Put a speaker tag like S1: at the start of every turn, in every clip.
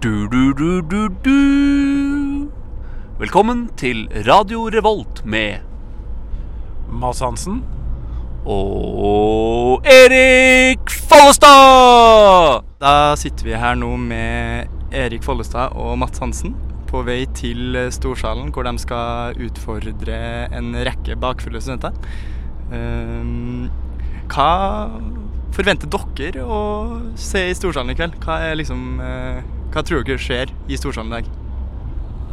S1: Du, du, du, du, du. Velkommen til Radio Revolt med
S2: Mads Hansen.
S1: og Erik Follestad!
S3: Da sitter vi her nå med Erik Follestad og Mats Hansen på vei til eh, Storsalen, hvor de skal utfordre en rekke bakfulle studenter. Ehm, hva forventer dere å se i Storsalen i kveld? Hva, er liksom, eh, hva tror dere skjer i Storsalen i dag?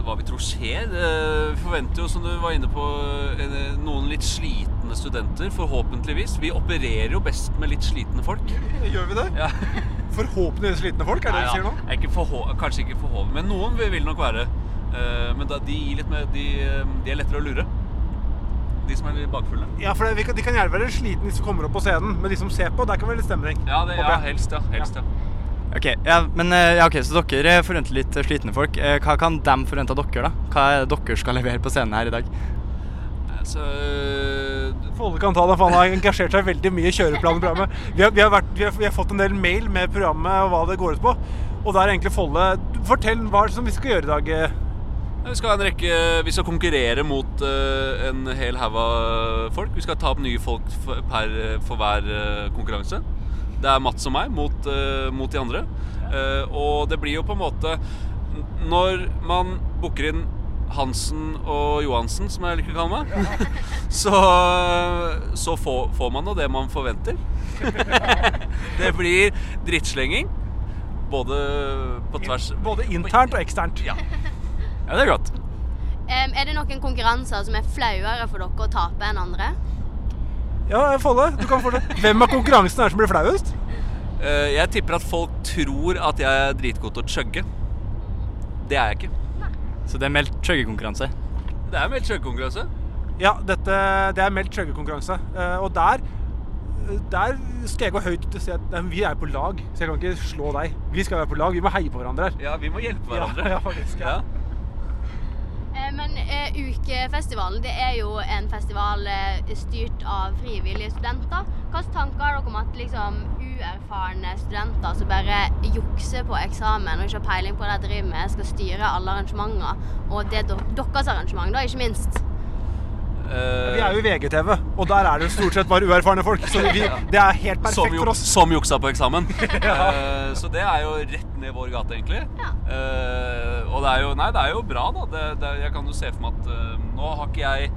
S4: hva vi tror skjer. Eh, Vi forventer jo, som du var inne på, en- noen litt slitne studenter, forhåpentligvis. Vi opererer jo best med litt slitne folk.
S2: Gjør vi det?
S4: Ja.
S2: Forhåpentligvis slitne folk, er det
S4: Nei,
S2: dere sier
S4: ja.
S2: nå?
S4: Er ikke forhå- kanskje ikke forhåpentlig, men noen vi vil nok være. Eh, Men da, de, gir litt mer- de, eh, de er lettere å lure. De som er litt bakfulle.
S2: Ja, for det, vi kan- De kan gjerne være slitne, de som kommer opp på scenen, men de som ser på, der kan være litt stemning.
S4: Ja, det,
S2: Håper
S4: ja
S2: jeg.
S4: helst, ja. Helst, ja.
S3: Ok, ja, men, eh, ja, ok, Så dere forventer litt slitne folk. Eh, Hva kan de forvente av dere? da? Hva er det dere skal levere på scenen her i dag?
S4: Eh, Så eh,
S2: Folle kan ta det, for han har engasjert seg veldig mye i kjøreplanen i programmet. Vi har, vi, har vært, vi, har, vi har fått en del mail med programmet og hva det går ut på. Og da er egentlig Folle Fortell hva er det som vi skal gjøre i dag. eh?
S4: Ja, Vi skal, ha en rekke, eh, vi skal konkurrere mot eh, en hel haug av folk. Vi skal ta opp nye folk for, per, for hver eh, konkurranse. Det er Mats og meg mot, eh, mot de andre. Eh, og det blir jo på en måte n- Når man booker inn Hansen og Johansen, som jeg liker å kalle meg, så, så får, får man jo det man forventer. det blir drittslenging. Både på tvers
S2: Både internt og eksternt.
S4: Ja.
S3: Ja, Det er godt.
S5: Em, er det noen konkurranser som er flauere for dere å tape enn andre?
S2: Ja, Folle, du kan fortelle. Hvem av konkurransen er det som blir flauest?
S4: Eh, Jeg tipper at folk tror at jeg er dritgod til å chugge. Det er jeg ikke.
S3: Så det er meldt chuggekonkurranse.
S4: Det er en meldt chuggekonkurranse.
S2: Ja, dette, det er meldt skjøggekonkurranse. Eh, og der, der skal jeg gå høyt ut og si at nei, men vi er på lag, så jeg kan ikke slå deg. Vi skal være på lag, vi må heie på hverandre her.
S4: Ja, vi må hjelpe hverandre.
S2: Ja, ja, faktisk, ja.
S5: Eh, men eh, Ukefestivalen det er jo en festival eh, styrt av frivillige studenter. Hvilke tanker har dere om at liksom, uerfarne studenter som bare jukser på eksamen og ikke har peiling på hva de driver med, skal styre alle arrangementer, og det er dok- deres arrangement, da, ikke minst?
S4: Eh,
S2: Vi er jo i VGTV, og der er det jo stort sett bare uerfarne folk. Så vi, det er
S4: som,
S2: helt perfekt
S4: ju-
S2: for oss.
S4: som juksa på eksamen. Eh, så det er jo rett ned vår gate, egentlig.
S5: Ja.
S4: Eh, og det er jo Nei, det er jo bra, da. Det, det, jeg kan jo se for meg at eh, nå har ikke jeg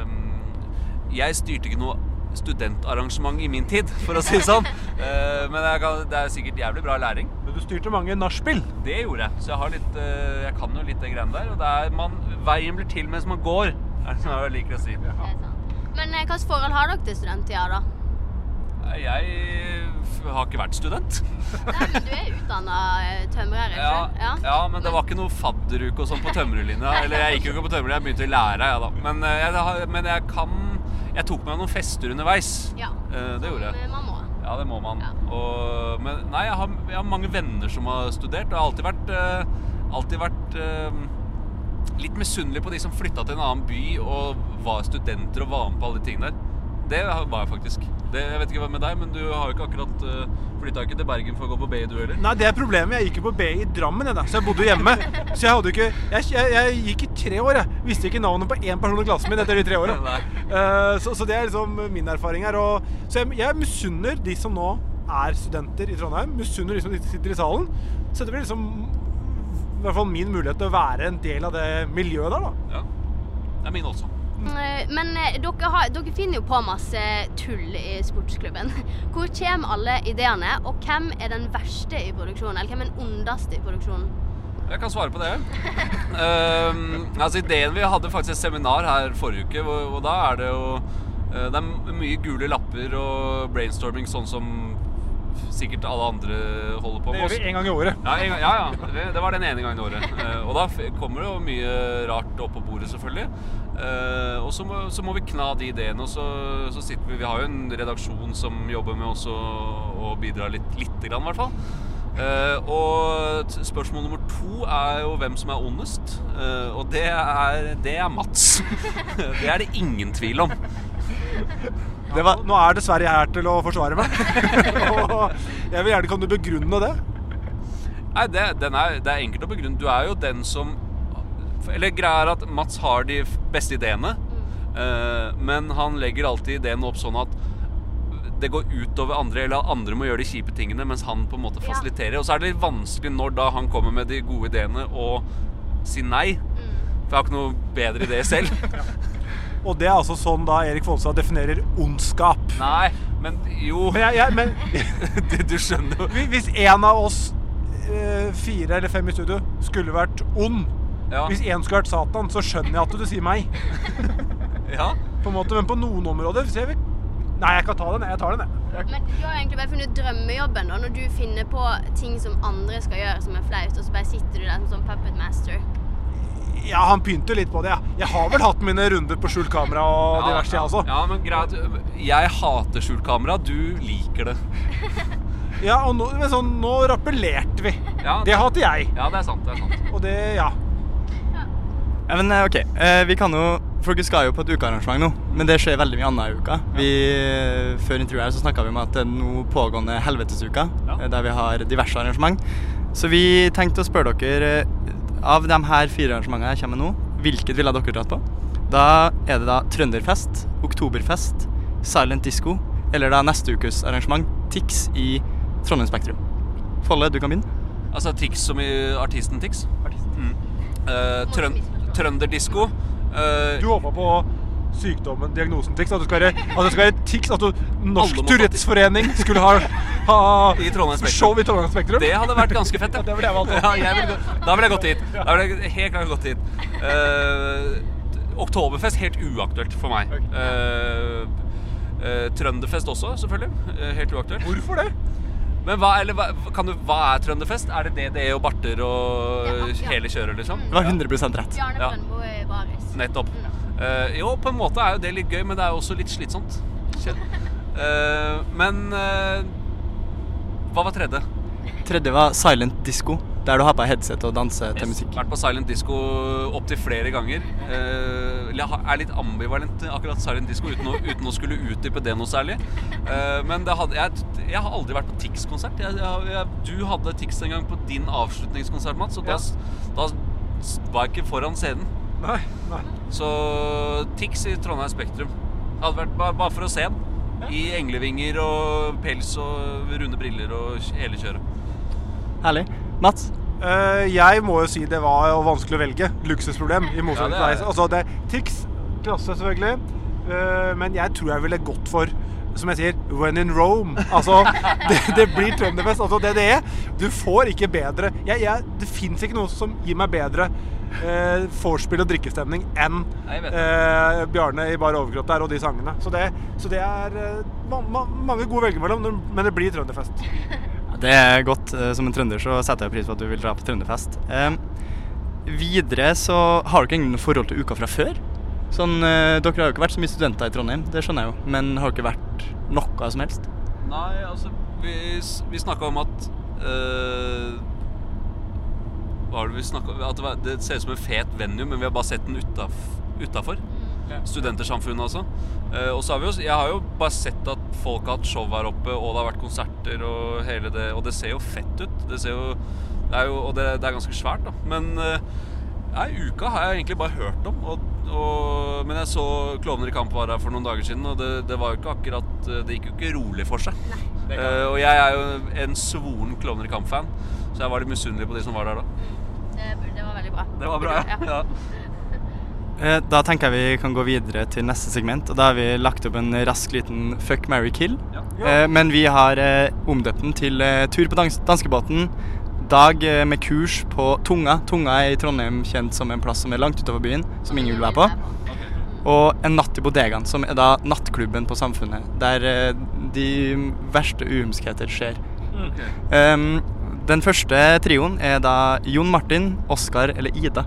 S4: eh, Jeg styrte ikke noe studentarrangement i min tid, for å si det sånn. Eh, men jeg kan, det er sikkert jævlig bra læring.
S2: Men du styrte mange nachspiel.
S4: Det gjorde jeg. Så jeg, har litt, eh, jeg kan jo litt det greiene der. Og det er man, veien blir til mens man går, er det som jeg liker å si.
S5: Det er sant. Men eh, hvilket forhold har dere til studenttida, da?
S4: Eh, Jeg f- har ikke vært student.
S5: Nei, men du er utdanna tømrer, ikke
S4: Ja,
S5: sant?
S4: ja, men det var ikke noe fadderuke og sånn på tømrerlinja. Eller jeg gikk jo ikke på tømrer, jeg begynte å lære, jeg da. Men, eh, jeg, har- men jeg kan Jeg tok meg noen fester underveis.
S5: Ja.
S4: Eh, det gjorde jeg.
S5: Men Man må.
S4: Ja, det må man.
S5: Ja.
S4: Og, men nei, jeg har, jeg har mange venner som har studert. Og jeg har alltid vært, eh, alltid vært eh, litt misunnelig på de som flytta til en annen by og var studenter og var med på alle de tingene der. Det var jeg faktisk. Det, jeg vet ikke hva med deg, men du har jo ikke akkurat uh, flytta ikke til Bergen for å gå på BI, du heller.
S2: Nei, det er problemet. Jeg gikk jo på B i Drammen, jeg da, så jeg bodde jo hjemme. Så jeg hadde jo ikke jeg, jeg, jeg gikk i tre år, jeg. Visste ikke navnet på én person i klassen min etter de tre åra.
S4: Nei.
S2: Eh, så, så det er liksom min erfaring her. Og, så jeg, jeg misunner de som nå er studenter i Trondheim. Misunner de som sitter i salen. Så det blir liksom i hvert fall min mulighet til å være en del av det miljøet der, da.
S4: Ja. Det er min også.
S5: Eh, Men eh, dere, har, dere finner jo på masse tull i sportsklubben. Hvor kommer alle ideene, og hvem er den verste i produksjonen? Eller hvem er den ondeste i produksjonen?
S4: Jeg kan svare på det. Ehm, altså ideen Vi hadde faktisk et seminar her forrige uke, og, og da er det jo eh, Det er mye gule lapper og brainstorming, sånn som sikkert alle andre holder på
S2: Det
S4: med.
S2: gjør vi én gang i året.
S4: Ja, en gang, ja, ja. Det, det var den ene gangen i året. Eh, og da f- kommer det jo mye rart opp på bordet, selvfølgelig. Eh, og så må, så må vi kna de ideene, og så, så sitter vi Vi har jo en redaksjon som jobber med oss og, og bidrar litt, lite grann, i hvert fall. Eh, og t- spørsmål nummer to er jo hvem som er ondest. Eh, og det er, det er Mats. det er det ingen tvil om.
S3: Det var,
S2: Nå er dessverre jeg her til å forsvare meg. og jeg vil gjerne kan du begrunne det.
S4: Nei, det, den er, det er enkelt å begrunne. Du er jo den som Eller greia er at Mats har de f- beste ideene, eh, men han legger alltid ideene opp sånn at det går utover andre, eller at andre må gjøre de kjipe tingene, mens han på en måte
S5: Ja.
S4: fasiliterer. Og så er det litt vanskelig når da han kommer med de gode ideene, å si nei. For jeg har ikke noe bedre idé selv.
S2: Og det er altså sånn da Erik Follestad definerer ondskap.
S4: nei, men jo
S2: Men, jeg, jeg, men
S4: du, du skjønner jo.
S2: hvi- hvis en av oss eh, fire eller fem i studio skulle vært ond
S4: Ja.
S2: Hvis én skulle vært Satan, så skjønner jeg at du sier meg.
S4: ja.
S2: På en måte, Men på noen områder så jeg vil Nei, jeg kan ta den. jeg. Jeg tar den, jeg.
S5: Men du har jo egentlig bare funnet drømmejobben da, når du finner på ting som andre skal gjøre som er flaut, og så bare sitter du der som sånn puppet master.
S2: Ja, han pynter litt på det, ja. Jeg har vel hatt mine runder på skjult kamera og diverse, jeg også.
S4: Ja, men greit. Jeg hater skjult kamera. Du liker det.
S2: Ja, og nå, men sånn, nå rappellerte vi.
S4: Ja,
S2: Det hater jeg.
S4: ja, det er sant. det er sant.
S2: Og det, ja.
S3: Ja, men eh, ok, eh, vi kan jo For dere skal jo på et ukearrangement nå, men det skjer veldig mye annet i uka. Vi, eh, før intervjuet her så snakka vi om at det er nå pågående helvetesuka,
S4: Ja.
S3: eh, der vi har diverse arrangement. Så vi tenkte å spørre dere, eh, av de her fire arrangementene jeg kommer med nå, hvilket ville dere dratt på? Da er det da Trønderfest, Oktoberfest, Silent Disco, eller da neste ukes arrangement, TIX i Trondheim Spektrum. Folle, du kan begynne.
S4: Altså Tix som i artisten Tix. Mm. Eh, trøn Trønderdisko. Eh,
S2: Du håpa på sykdommen, diagnosen tics? At det skal være, at det skal være tics? At du,
S4: Alle
S2: Norsk
S4: må ta
S2: Tourettes Forening skulle ha, ha
S4: I Trondheim Spektrum.
S2: show i Trondheim Spektrum?
S4: det hadde vært ganske fett.
S2: Det ville jeg valgt også.
S4: Ja, jeg ville gå- da ville jeg gått hit. Da ville jeg helt klart gått hit. Eh, Oktoberfest helt uaktuelt for meg. Eh, eh, Trønderfest også, selvfølgelig. Eh, helt uaktuelt.
S2: Hvorfor det?
S4: Men hva, eller, hva, kan du, hva er Trønderfest? Er det DDE og barter og
S5: Ja, ja.
S4: hele kjøret, liksom?
S3: Det var 100 rett.
S5: Bjarne
S4: Ja.
S5: Brøndbo i baris.
S4: Nettopp. Eh, jo, på en måte er jo det litt gøy, men det er jo også litt slitsomt. Kjenn. Eh, men eh, hva var tredje?
S3: Tredje var Silent Disco, der du har på headset og danser til musikk.
S4: Vært på silent disco opptil flere ganger. Eh, eller jeg har- er litt ambivalent til akkurat silent disco uten å, uten å skulle utdype det noe særlig. Eh, men det hadde, jeg, jeg har aldri vært på Tix-konsert. Jeg, jeg, jeg, du hadde Tix en gang på din avslutningskonsert, Mats, og da,
S2: Ja.
S4: s- da s- var jeg ikke foran scenen.
S2: Nei, nei.
S4: Så Tix i Trondheim Spektrum. Det hadde vært bare, bare for å se den. I englevinger og pels og runde briller og kj- hele kjøret.
S3: Herlig. Mats?
S2: Eh, jeg må jo si det var jo vanskelig å velge. Luksusproblem. i motsetning
S4: Ja, det er
S2: til deg. Altså, det er tics, klasse selvfølgelig, Eh, men jeg tror jeg ville gått for som jeg sier, when in Rome. Altså, det, det blir Trønderfest. Altså, det det er. Du får ikke bedre jeg, jeg, Det fins ikke noe som gir meg bedre eh, vorspiel og drikkestemning enn
S4: Nei, jeg vet det.
S2: eh, Bjarne i bar overkropp der og de sangene. Så det, så det er eh, ma ma mange gode å velge mellom, men det blir Trønderfest.
S3: Det er godt. Eh, Som en trønder så setter jeg pris på at du vil dra på trønderfest. Eh, videre så har dere egentlig noe forhold til uka fra før? Sånn, eh, Dere har jo ikke vært så mye studenter i Trondheim, det skjønner jeg jo, men har dere vært noe som helst?
S4: Nei, altså Vi, s- vi snakka om at eh, Hva var det vi snakka om? At det, var, det ser ut som en fet venue, men vi har bare sett den utaf, utafor. Studentersamfunnet, altså. Eh, og så har vi jo s- Jeg har jo bare sett at folk har hatt show her oppe, og det har vært konserter og hele det Og det ser jo fett ut. Det ser jo Det er jo Og det, det er ganske svært, da. Men eh, Nei, uka har jeg egentlig bare hørt om. Og, og, men jeg så Klovner i kamp var her for noen dager siden, og det, det var jo ikke akkurat eh, Det gikk jo ikke rolig for seg. Eh, og jeg er jo en svoren Klovner i kamp-fan, så jeg var litt misunnelig på de som var der da.
S5: Det, det var veldig bra.
S4: Det var bra, ja. ja.
S3: Eh, Da tenker jeg vi kan gå videre til neste segment, og da har vi lagt opp en rask liten fuck, marry, kill.
S4: Ja.
S3: Eh, Men vi har eh, omdøpt den til eh, Tur på dans danskebåten. Dag eh, med kurs på Tunga. Tunga er i Trondheim kjent som en plass som er langt utover byen, som ingen vil være på. Og En natt i bodegaen, som er da nattklubben på Samfunnet, der eh, de verste uhumskheter skjer.
S4: Mm.
S3: Um, den første trioen er da Jon Martin, Oskar eller Ida.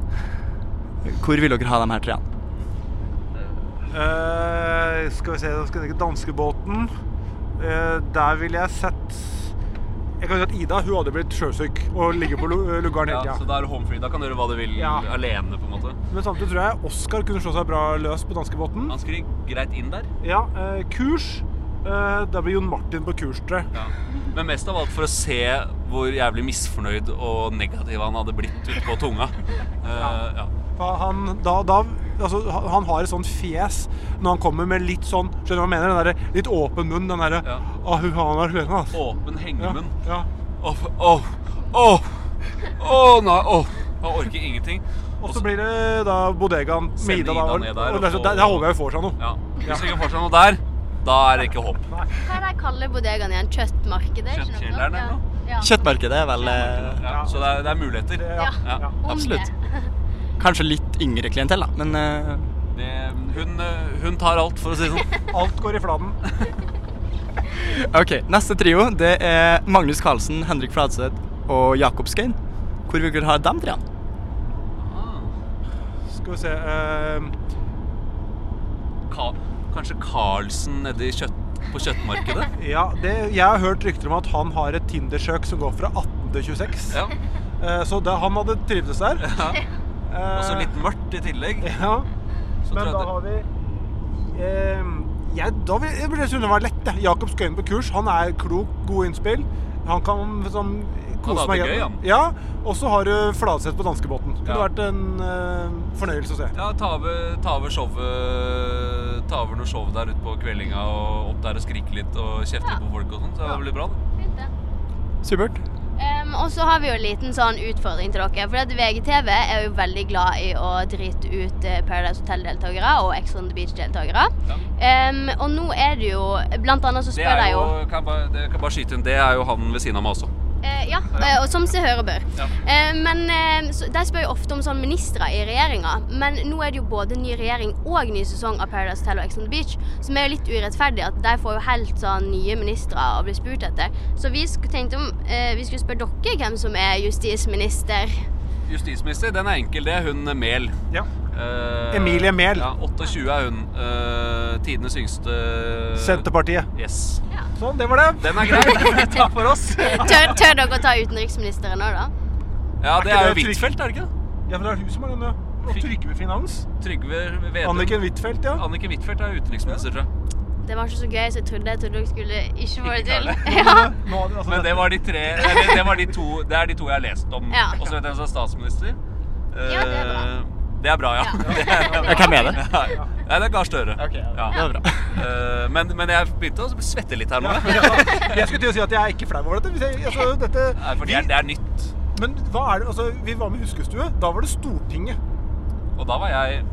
S3: Hvor vil dere ha de her treene?
S2: Eh, skal vi se, da skal jeg tenke danskebåten. Eh, der ville jeg sett Jeg kan si at Ida hun hadde blitt sjøsyk og ligge på lu- eh, lugaren hele
S4: ja, så
S2: tida.
S4: da er du homefree. Da kan du gjøre hva du vil
S2: Ja.
S4: alene, på en måte.
S2: Men samtidig tror jeg Oskar kunne slå seg bra løs på danskebåten.
S4: Han skriver greit inn der.
S2: Ja, eh, kurs. Eh, da blir Jon Martin på kurs, tror jeg.
S4: Men mest av alt for å se hvor jævlig misfornøyd og negativ han hadde blitt ute på tunga. Eh, ja.
S2: For Han, da, da, altså, han han har et sånt fjes når han kommer med litt sånn Skjønner du hva jeg mener? Den derre litt åpen munn. Den derre
S4: Ja.
S2: ah, hun, han har høna, altså.
S4: Åpen
S2: Ja,
S4: hengemunn.
S2: ja.
S4: Åh, åh, åh, åh, nei, åh. Jeg orker ingenting.
S2: Og så blir det da bodegaen med
S4: Sender
S2: Ida. Da,
S4: Ida
S2: og,
S4: ned der,
S2: og,
S4: og
S2: der,
S4: så-
S2: der, der håper jeg hun får seg noe.
S4: Ja. Hvis ikke får seg noe der, da er det ikke håp.
S5: Hva er det jeg kaller bodegaen igjen? Kjøttmarkedet? ikke noe sånt?
S4: Kjøttkjelleren eller noe?
S5: Ja. Ja.
S3: Kjøttmarkedet er vel eh,
S4: Ja, så det er, det er muligheter.
S2: Det-
S5: Ja.
S4: Ja.
S5: Om
S3: Absolutt.
S5: det.
S3: kanskje litt yngre klientell, da, men eh,
S4: Det, hun, eh, hun tar alt, for å si det sånn.
S2: Alt går i fladen.
S3: Ok, neste trio det er Magnus Carlsen, Henrik Fladseth og Jakob Skøyen. Hvor vil dere ha dem tre?
S4: Ah,
S2: Skal vi se eh,
S4: Ka Kanskje Carlsen nedi kjøtt, på kjøttmarkedet?
S2: Ja, det, jeg har hørt rykter om at han har et Tinder-søk som går fra 18 til 26.
S4: Ja.
S2: Eh, så det, han hadde trivdes der. Eh,
S4: Og så litt mørkt i tillegg.
S2: Ja.
S4: Så tror
S2: Men
S4: jeg
S2: da
S4: det-
S2: har vi eh, jeg, da vil, jeg ville synes det var lett. jeg. Jakob Skøyen på kurs. Han er klok, gode innspill. Han kan sånn, kose
S4: hadde
S2: meg.
S4: det gøy,
S2: gjennom.
S4: han.
S2: Ja, Og så har du Fladseth på danskebåten. Kunne
S4: Ja.
S2: vært en eh, fornøyelse å se.
S4: Ja, ta over, ta over showet Ta over noe show der ute på kveldinga og opp der og skrike litt og kjefte litt på folk og sånn. Så det blir bra, det.
S5: Fint, det.
S3: Supert.
S5: Em, og så har vi jo en liten sånn utfordring til dere. For at VGTV er jo veldig glad i å drite ut eh, Paradise Hotel-deltakere og Ex on the Beach-deltakere.
S4: Ja.
S5: Em, og nå er det jo Blant annet så
S4: Det
S5: spør
S4: er
S5: de
S4: jo,
S5: jo
S4: kan jeg bare, det kan jeg bare skyte inn, det er jo han ved siden av meg også.
S5: eh, Ja, eh, og som seg hør og bør.
S4: Ja.
S5: Eh, men eh, så, de spør jo ofte om sånn ministre i regjeringa. Men nå er det jo både ny regjering og ny sesong av Paradise Hotel og Ex on the Beach, som er jo litt urettferdig at de får jo helt sånn nye ministre å bli spurt etter. Så vi sk tenkte om eh, vi skulle spørre dere hvem som er justisminister.
S4: Justisminister, den er enkel, det er hun Mehl.
S2: Ja.
S4: Eh,
S2: Emilie Mehl.
S4: Ja, 28 er hun. Eh, tidenes yngste
S2: Senterpartiet.
S4: Yes.
S2: Sånn, det var det.
S4: Den er grei. Takk for oss.
S5: Tør, tør dere å ta utenriksministeren òg, da?
S4: Ja,
S2: Er
S4: det
S2: ikke
S4: er jo
S2: det
S4: Huitfeldt, er det ikke det?
S2: Ja, for det er hun som er den, ja. Og Trygve Finans.
S4: Trygve Vedum.
S2: Anniken Huitfeldt, ja.
S4: Anniken Huitfeldt er utenriksminister, tror jeg.
S5: Det var ikke så gøy, så jeg trodde, jeg trodde dere skulle ikke få det
S4: Ikke klare
S5: til. Ja.
S2: Nå har vi altså
S4: Men det var de tre nei, det, det, var de to, det er de to jeg har lest om.
S5: Ja.
S4: Og så vet jeg hvem som er statsminister.
S5: Ja, det er bra.
S4: Eh, Det er bra, ja. Det er,
S3: Ja, hvem er det?
S4: Nei, det er Gahr Støre. Ja.
S3: Det var bra.
S4: Eh, Men, men jeg begynte å svette litt her nå. jeg.
S2: Jeg skulle til å si at jeg er ikke flau over dette. Hvis jeg, altså, dette
S4: Nei, for det er, det er nytt.
S2: vi, men hva er det Altså, vi var med i Huskestue. Da var det Stortinget.
S4: Og da var jeg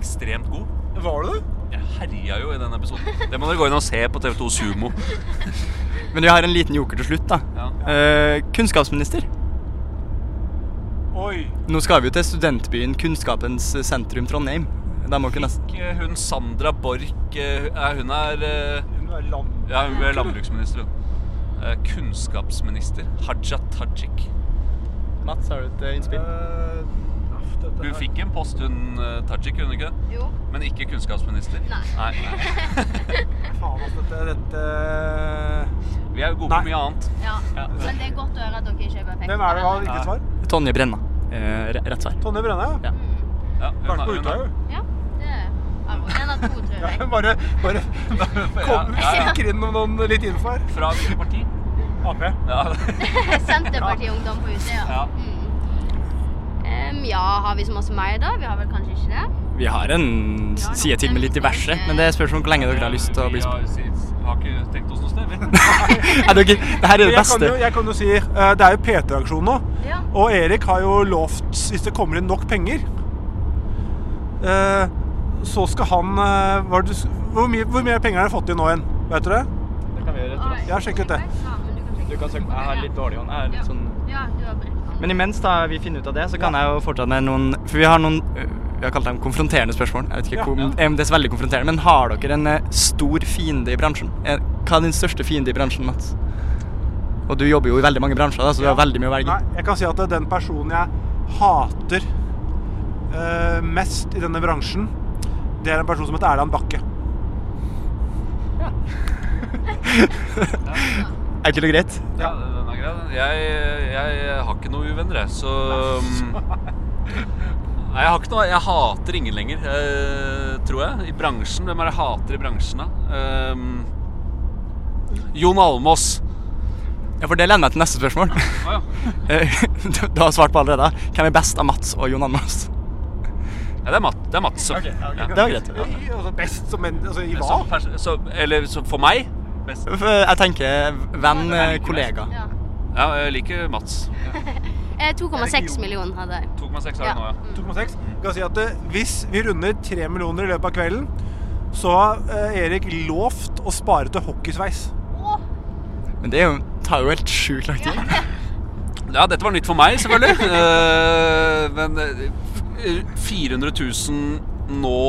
S4: ekstremt god.
S2: Var det det?
S4: Jeg herja jo i den episoden. Det må dere gå inn og se på TV2 Sumo.
S3: Men vi har en liten joker til slutt, da.
S4: Ja.
S3: Eh, kunnskapsminister.
S2: Oi.
S3: Nå skal vi jo til studentbyen Kunnskapens sentrum Trondheim. Da må ikke nesten
S4: Ikke Hun Sandra Borch eh, eh, Hun er eh,
S2: Hun er land...
S4: Ja, hun ble landbruksminister, hun. Eh, Kunnskapsminister Haja Tajik.
S3: Mats, har du et innspill?
S2: Eh, aff, dette
S4: Hun
S2: her-
S4: fikk en post, hun eh, Tajik, kunne hun ikke? det?
S5: Jo.
S4: Men ikke kunnskapsminister.
S5: Nei.
S4: nei.
S2: Faen, altså, dette, dette
S4: Vi er jo gode
S2: Nei.
S4: på mye annet.
S5: Ja. Men det er godt å høre at dere ikke er perfekte.
S2: Hvem er det som har
S5: Ja.
S2: riktig svar?
S3: Tonje Brenna. Eh, re- rett svar.
S2: Tonje Brenna, ja.
S3: Ja.
S4: Ja, hun
S2: Vært
S4: har-
S2: på
S4: hun har-
S2: Utøya, jo.
S5: Mm, Ja, det er arv. En av to, tror jeg.
S2: Ja, bare bare kom,
S4: Ja, ja, ja.
S2: stikker inn om noen litt info her.
S4: Fra hvilket parti?
S2: Ap.
S4: Ja.
S5: Senterpartiet Ungdom på Utøya.
S4: Ja.
S5: Mm. Em, ja, har vi så masse mer da? Vi har vel kanskje ikke det?
S3: Vi har en s- side til med litt diverse, men det spørs om hvor lenge dere har lyst til å bli
S4: Vi
S3: spurt.
S4: har, vi har ikke tenkt oss noe sted, vi.
S3: Er dere, det her er det
S2: Jeg kan,
S3: beste.
S2: jo, jeg kan jo si eh, Det er jo PT-aksjon nå.
S5: Ja.
S2: Og Erik har jo lovt, hvis det kommer inn nok penger eh, Så skal han eh, hva er det, du s- hvor, mye, hvor mye penger har han fått inn nå igjen? Vet du det? Jeg har sjekket det.
S5: Ja, men du kan sjekke.
S3: dårlig hånd. Jeg er
S5: litt sånn- Ja, du har brukt
S3: Men imens da vi finner ut av det, så kan jeg jo fortsette med noen For vi har noen øh, Vi har kalt dem konfronterende spørsmål. Jeg vet ikke
S2: Ja.
S3: hvor, eh, Det er så veldig konfronterende. Men har dere en eh, stor fiende i bransjen? Eh, Hva er din største fiende i bransjen, Mats? Og du jobber jo i veldig mange bransjer, da, så du har veldig mye å velge.
S2: Nei, jeg kan si at eh, den personen jeg hater eh, mest i denne bransjen, det er en person som heter Erland Bakke.
S3: Enkelt og greit.
S4: Ja, den er grei. den. Jeg, jeg har ikke noen uvenner, jeg, så um, Nei, jeg har ikke noe Jeg hater ingen lenger, eh, tror jeg. I bransjen. Hvem er det jeg Um, hater i bransjen, da? Eh, Jon Almås.
S3: Ja, for det leder meg til neste spørsmål.
S4: Å ja.
S3: Eh, du du har svart på allerede. Hvem er best av Mats og Jon Almaas?
S4: ja det er, Mat, det er Mats. som- ja.
S3: Det var greit.
S2: I- Altså, best som en Altså, i
S4: Som
S2: hva?
S4: pers- så, eller så for meg best.
S3: F- Jeg tenker venn, eh, kollega.
S5: Ja.
S4: Ja, jeg liker Mats.
S5: Eh, 2,6 millioner hadde jeg.
S4: 2,6 er
S5: Ja.
S4: det nå, ja.
S2: 2,6. Kan si at eh, hvis vi runder 3 millioner i løpet av kvelden, så har eh, Erik lovt å spare til hockeysveis.
S5: Åh,
S3: Men det er jo, tar jo helt sjukt lang tid.
S4: Ja, dette var nytt for meg, selvfølgelig. Eh, men eh, 400 000 nå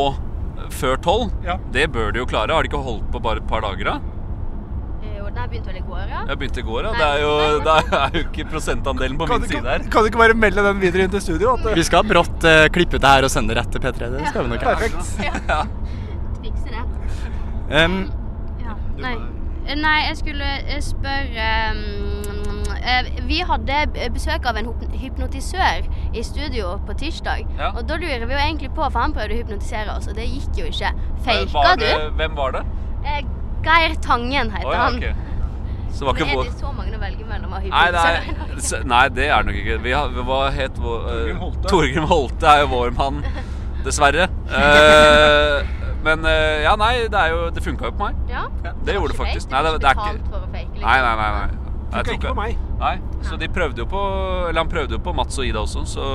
S4: før tolv,
S2: Ja.
S4: det bør de jo klare. Har de ikke holdt på bare et par dager, da?
S5: eh, Jo, den her begynte vel i går, ja.
S4: Jeg begynte i går, ja.
S5: Nei.
S4: Det er jo, det er jo ikke prosentandelen på
S2: Kan
S4: min
S2: du,
S4: side
S2: ikke,
S4: her.
S2: kan du ikke bare melde den videre inn til studio? At, eh,
S3: Vi skal brått eh, klippe ut det her og sende det rett til P3. Det skal vi nok. gjøre.
S2: perfekt.
S4: Ja.
S5: Fikse det.
S3: Um,
S5: Ja. Nei. Nei, jeg skulle eh, spørre mm, eh, Vi hadde b- besøk av en hypn- hypnotisør i studio på tirsdag.
S4: Ja.
S5: Og da lurer vi jo egentlig på, for han prøvde å hypnotisere oss, og det gikk jo ikke.
S4: Eh, var
S5: Faka du?
S4: det, hvem var det?
S5: Eh, Geir Tangen
S4: Å
S5: heter
S4: ja,
S5: han.
S4: ok. Så det var
S5: Men
S4: ikke
S5: er
S4: vår
S5: det så mange å velge mellom av
S4: Nei, det er,
S5: hypnotisører?
S4: s- nei, det er det nok ikke. Vi har, hva het vår eh,
S2: Torgrim Holte.
S4: Torgrim Holte er jo vår mann, dessverre. Eh, men eh, ja, nei, det, er jo, det funka jo på meg.
S5: Ja.
S4: Det gjorde det
S5: Fake,
S4: faktisk.
S5: du
S4: Nei, det,
S5: får
S4: det er
S5: betalt
S4: ikke
S5: for å fake, liksom.
S4: Nei, nei, nei. nei. Jeg
S2: Funka
S4: tror
S2: ikke på meg.
S4: Nei, så de prøvde jo på Eller han prøvde jo på Mats og Ida også, så,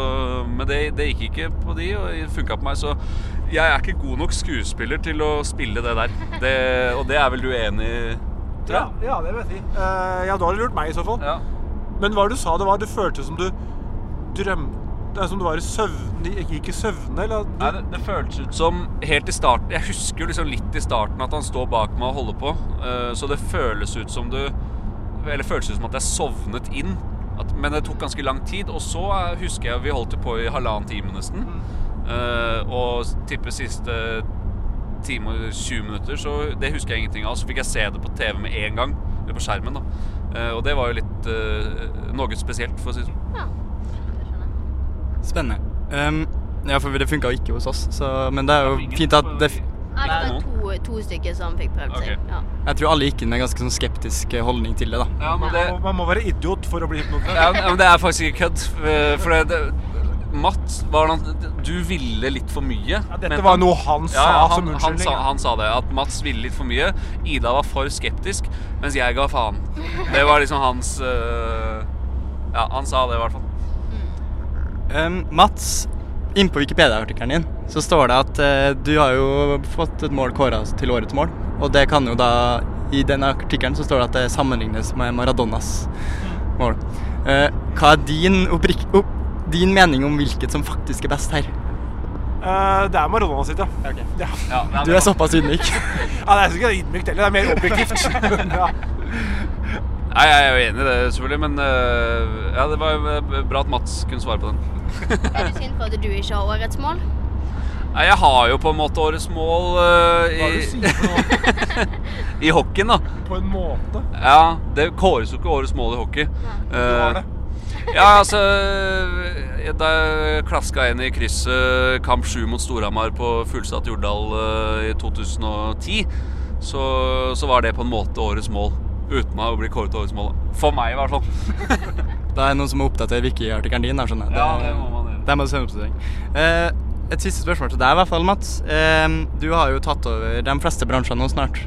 S4: men det, det gikk ikke på de, og det funka på meg. Så jeg er ikke god nok skuespiller til å spille det der. Det, og det er vel du enig i,
S2: Ja,
S4: tror jeg?
S2: ja, det vil jeg si. Eh, ja, da har du lurt meg i så fall.
S4: Ja.
S2: Men hva var det du sa det var? Det føltes som du drømte Som du var i søvne Ikke gikk i søvne, eller? Du,
S4: Nei, det, det føltes ut som helt i starten Jeg husker jo liksom litt i starten at han står bak meg og holder på. eh, så det føles ut som du Eller føles ut som at jeg sovnet inn. At, men det tok ganske lang tid. Og så eh, husker jeg vi holdt jo på i halvannen time nesten. eh, og tipper siste time og 20 minutter, så det husker jeg ingenting av. Så fikk jeg se det på TV med en gang. Eller på skjermen, da. Eh, og det var jo litt eh, noe spesielt, for å si det sånn.
S5: Ja, det skjønner jeg.
S3: spennende. Um, ja, for det funka jo ikke hos oss, så, men det er jo
S4: Ingen
S3: fint at
S4: på-
S3: det
S5: Nei,
S4: Ikke
S5: det var
S4: noen.
S5: to, to stykker som fikk prøvd
S4: Ok.
S5: seg. Ja.
S3: Jeg tror alle gikk inn med en ganske sånn skeptisk eh, holdning til det, da.
S4: Ja, men det,
S2: man, må, man må være idiot for å bli hypnotisert.
S4: Ja, men- ja, men det er faktisk ikke kødd. eh, For det, det, Matt, var det, han- du ville litt for mye.
S2: Ja,
S4: mente
S2: dette
S4: han.
S2: var noe han sa
S4: Ja, ja,
S2: som
S4: han, han,
S2: unnskyldning.
S4: sa, han sa det, at Mats ville litt for mye. Ida var for skeptisk, mens jeg ga faen. Det var liksom hans eh, Ja, han sa det i hvert fall.
S3: Um, Mats, inn på Wikipedia-artikkelen din så står det at eh, du har jo fått et mål kåra til årets mål. Og det kan jo da I den artikkelen så står det at det sammenlignes med Maradonas mål. Eh, hva er din, opprik opp din mening om hvilket som faktisk er best her?
S2: Eh, det er Maradona sitt, ja. ja.
S4: Ja, nei,
S3: Du
S4: det
S3: er såpass ydmyk.
S2: ja det er ikke ydmykt heller, det er mer objektivt. ja.
S4: var- Nei, jeg er jo enig i det, selvfølgelig, men eh, ja, det var jo bra at Mats kunne svare på den.
S5: Er du sint for at du ikke har årets mål?
S4: Nei, jeg har jo på en måte årets mål eh,
S2: Hva er
S4: i,
S2: det du sier for noe?
S4: i hockeyen, da.
S2: På en måte.
S4: Ja, det kåres jo ikke årets mål i hockey.
S2: var det.
S4: Eh, ja, altså eh, Da jeg klaska inn i krysset kamp 7 mot Storhamar på fullsatt Jordal eh, i 2010, så, så var det på en måte årets mål. Uten å bli kåret til årets mål. For meg, i hvert fall.
S3: Da er det noen som må oppdatere Wiki-artikkelen din. da, skjønner jeg.
S4: Ja, det må man gjøre.
S3: Det må du sende oppdatering. Eh, et siste spørsmål til deg, i hvert fall, Mats. Eh, du har jo tatt over de fleste bransjene nå snart.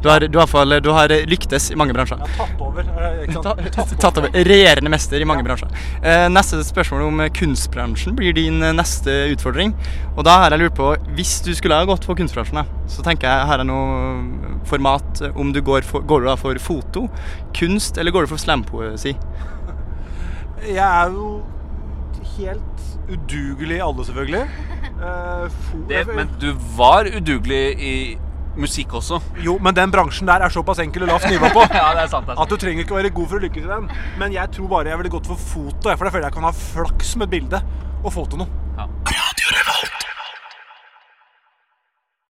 S3: Du har, du, har, i hvert fall- du har lyktes i mange bransjer.
S2: Jeg har tatt over. eh, Ikke
S3: Ta-
S2: sant?
S3: Tatt over. Regjerende mester i mange bransjer. Eh, neste spørsmål om eh, kunstbransjen blir din eh, neste utfordring. Og da har jeg lurt på, hvis du skulle ha gått for kunstbransjen, da, så tenker jeg her er noe format eh, om du går, for, går du da for foto, kunst, eller går du for slampoesi?
S2: Jeg er jo helt udugelig i alle, selvfølgelig. Eh, fo-
S4: Det, men du var udugelig i musikk også.
S2: Jo, men den bransjen der er såpass enkel og lavt nivå på.
S4: Ja, det er sant.
S2: At du trenger ikke være god for å lykkes i den. Men jeg tror bare jeg ville gått for foto, jeg, for da føler jeg jeg kan ha flaks med et bilde og få til noe.
S4: Ja.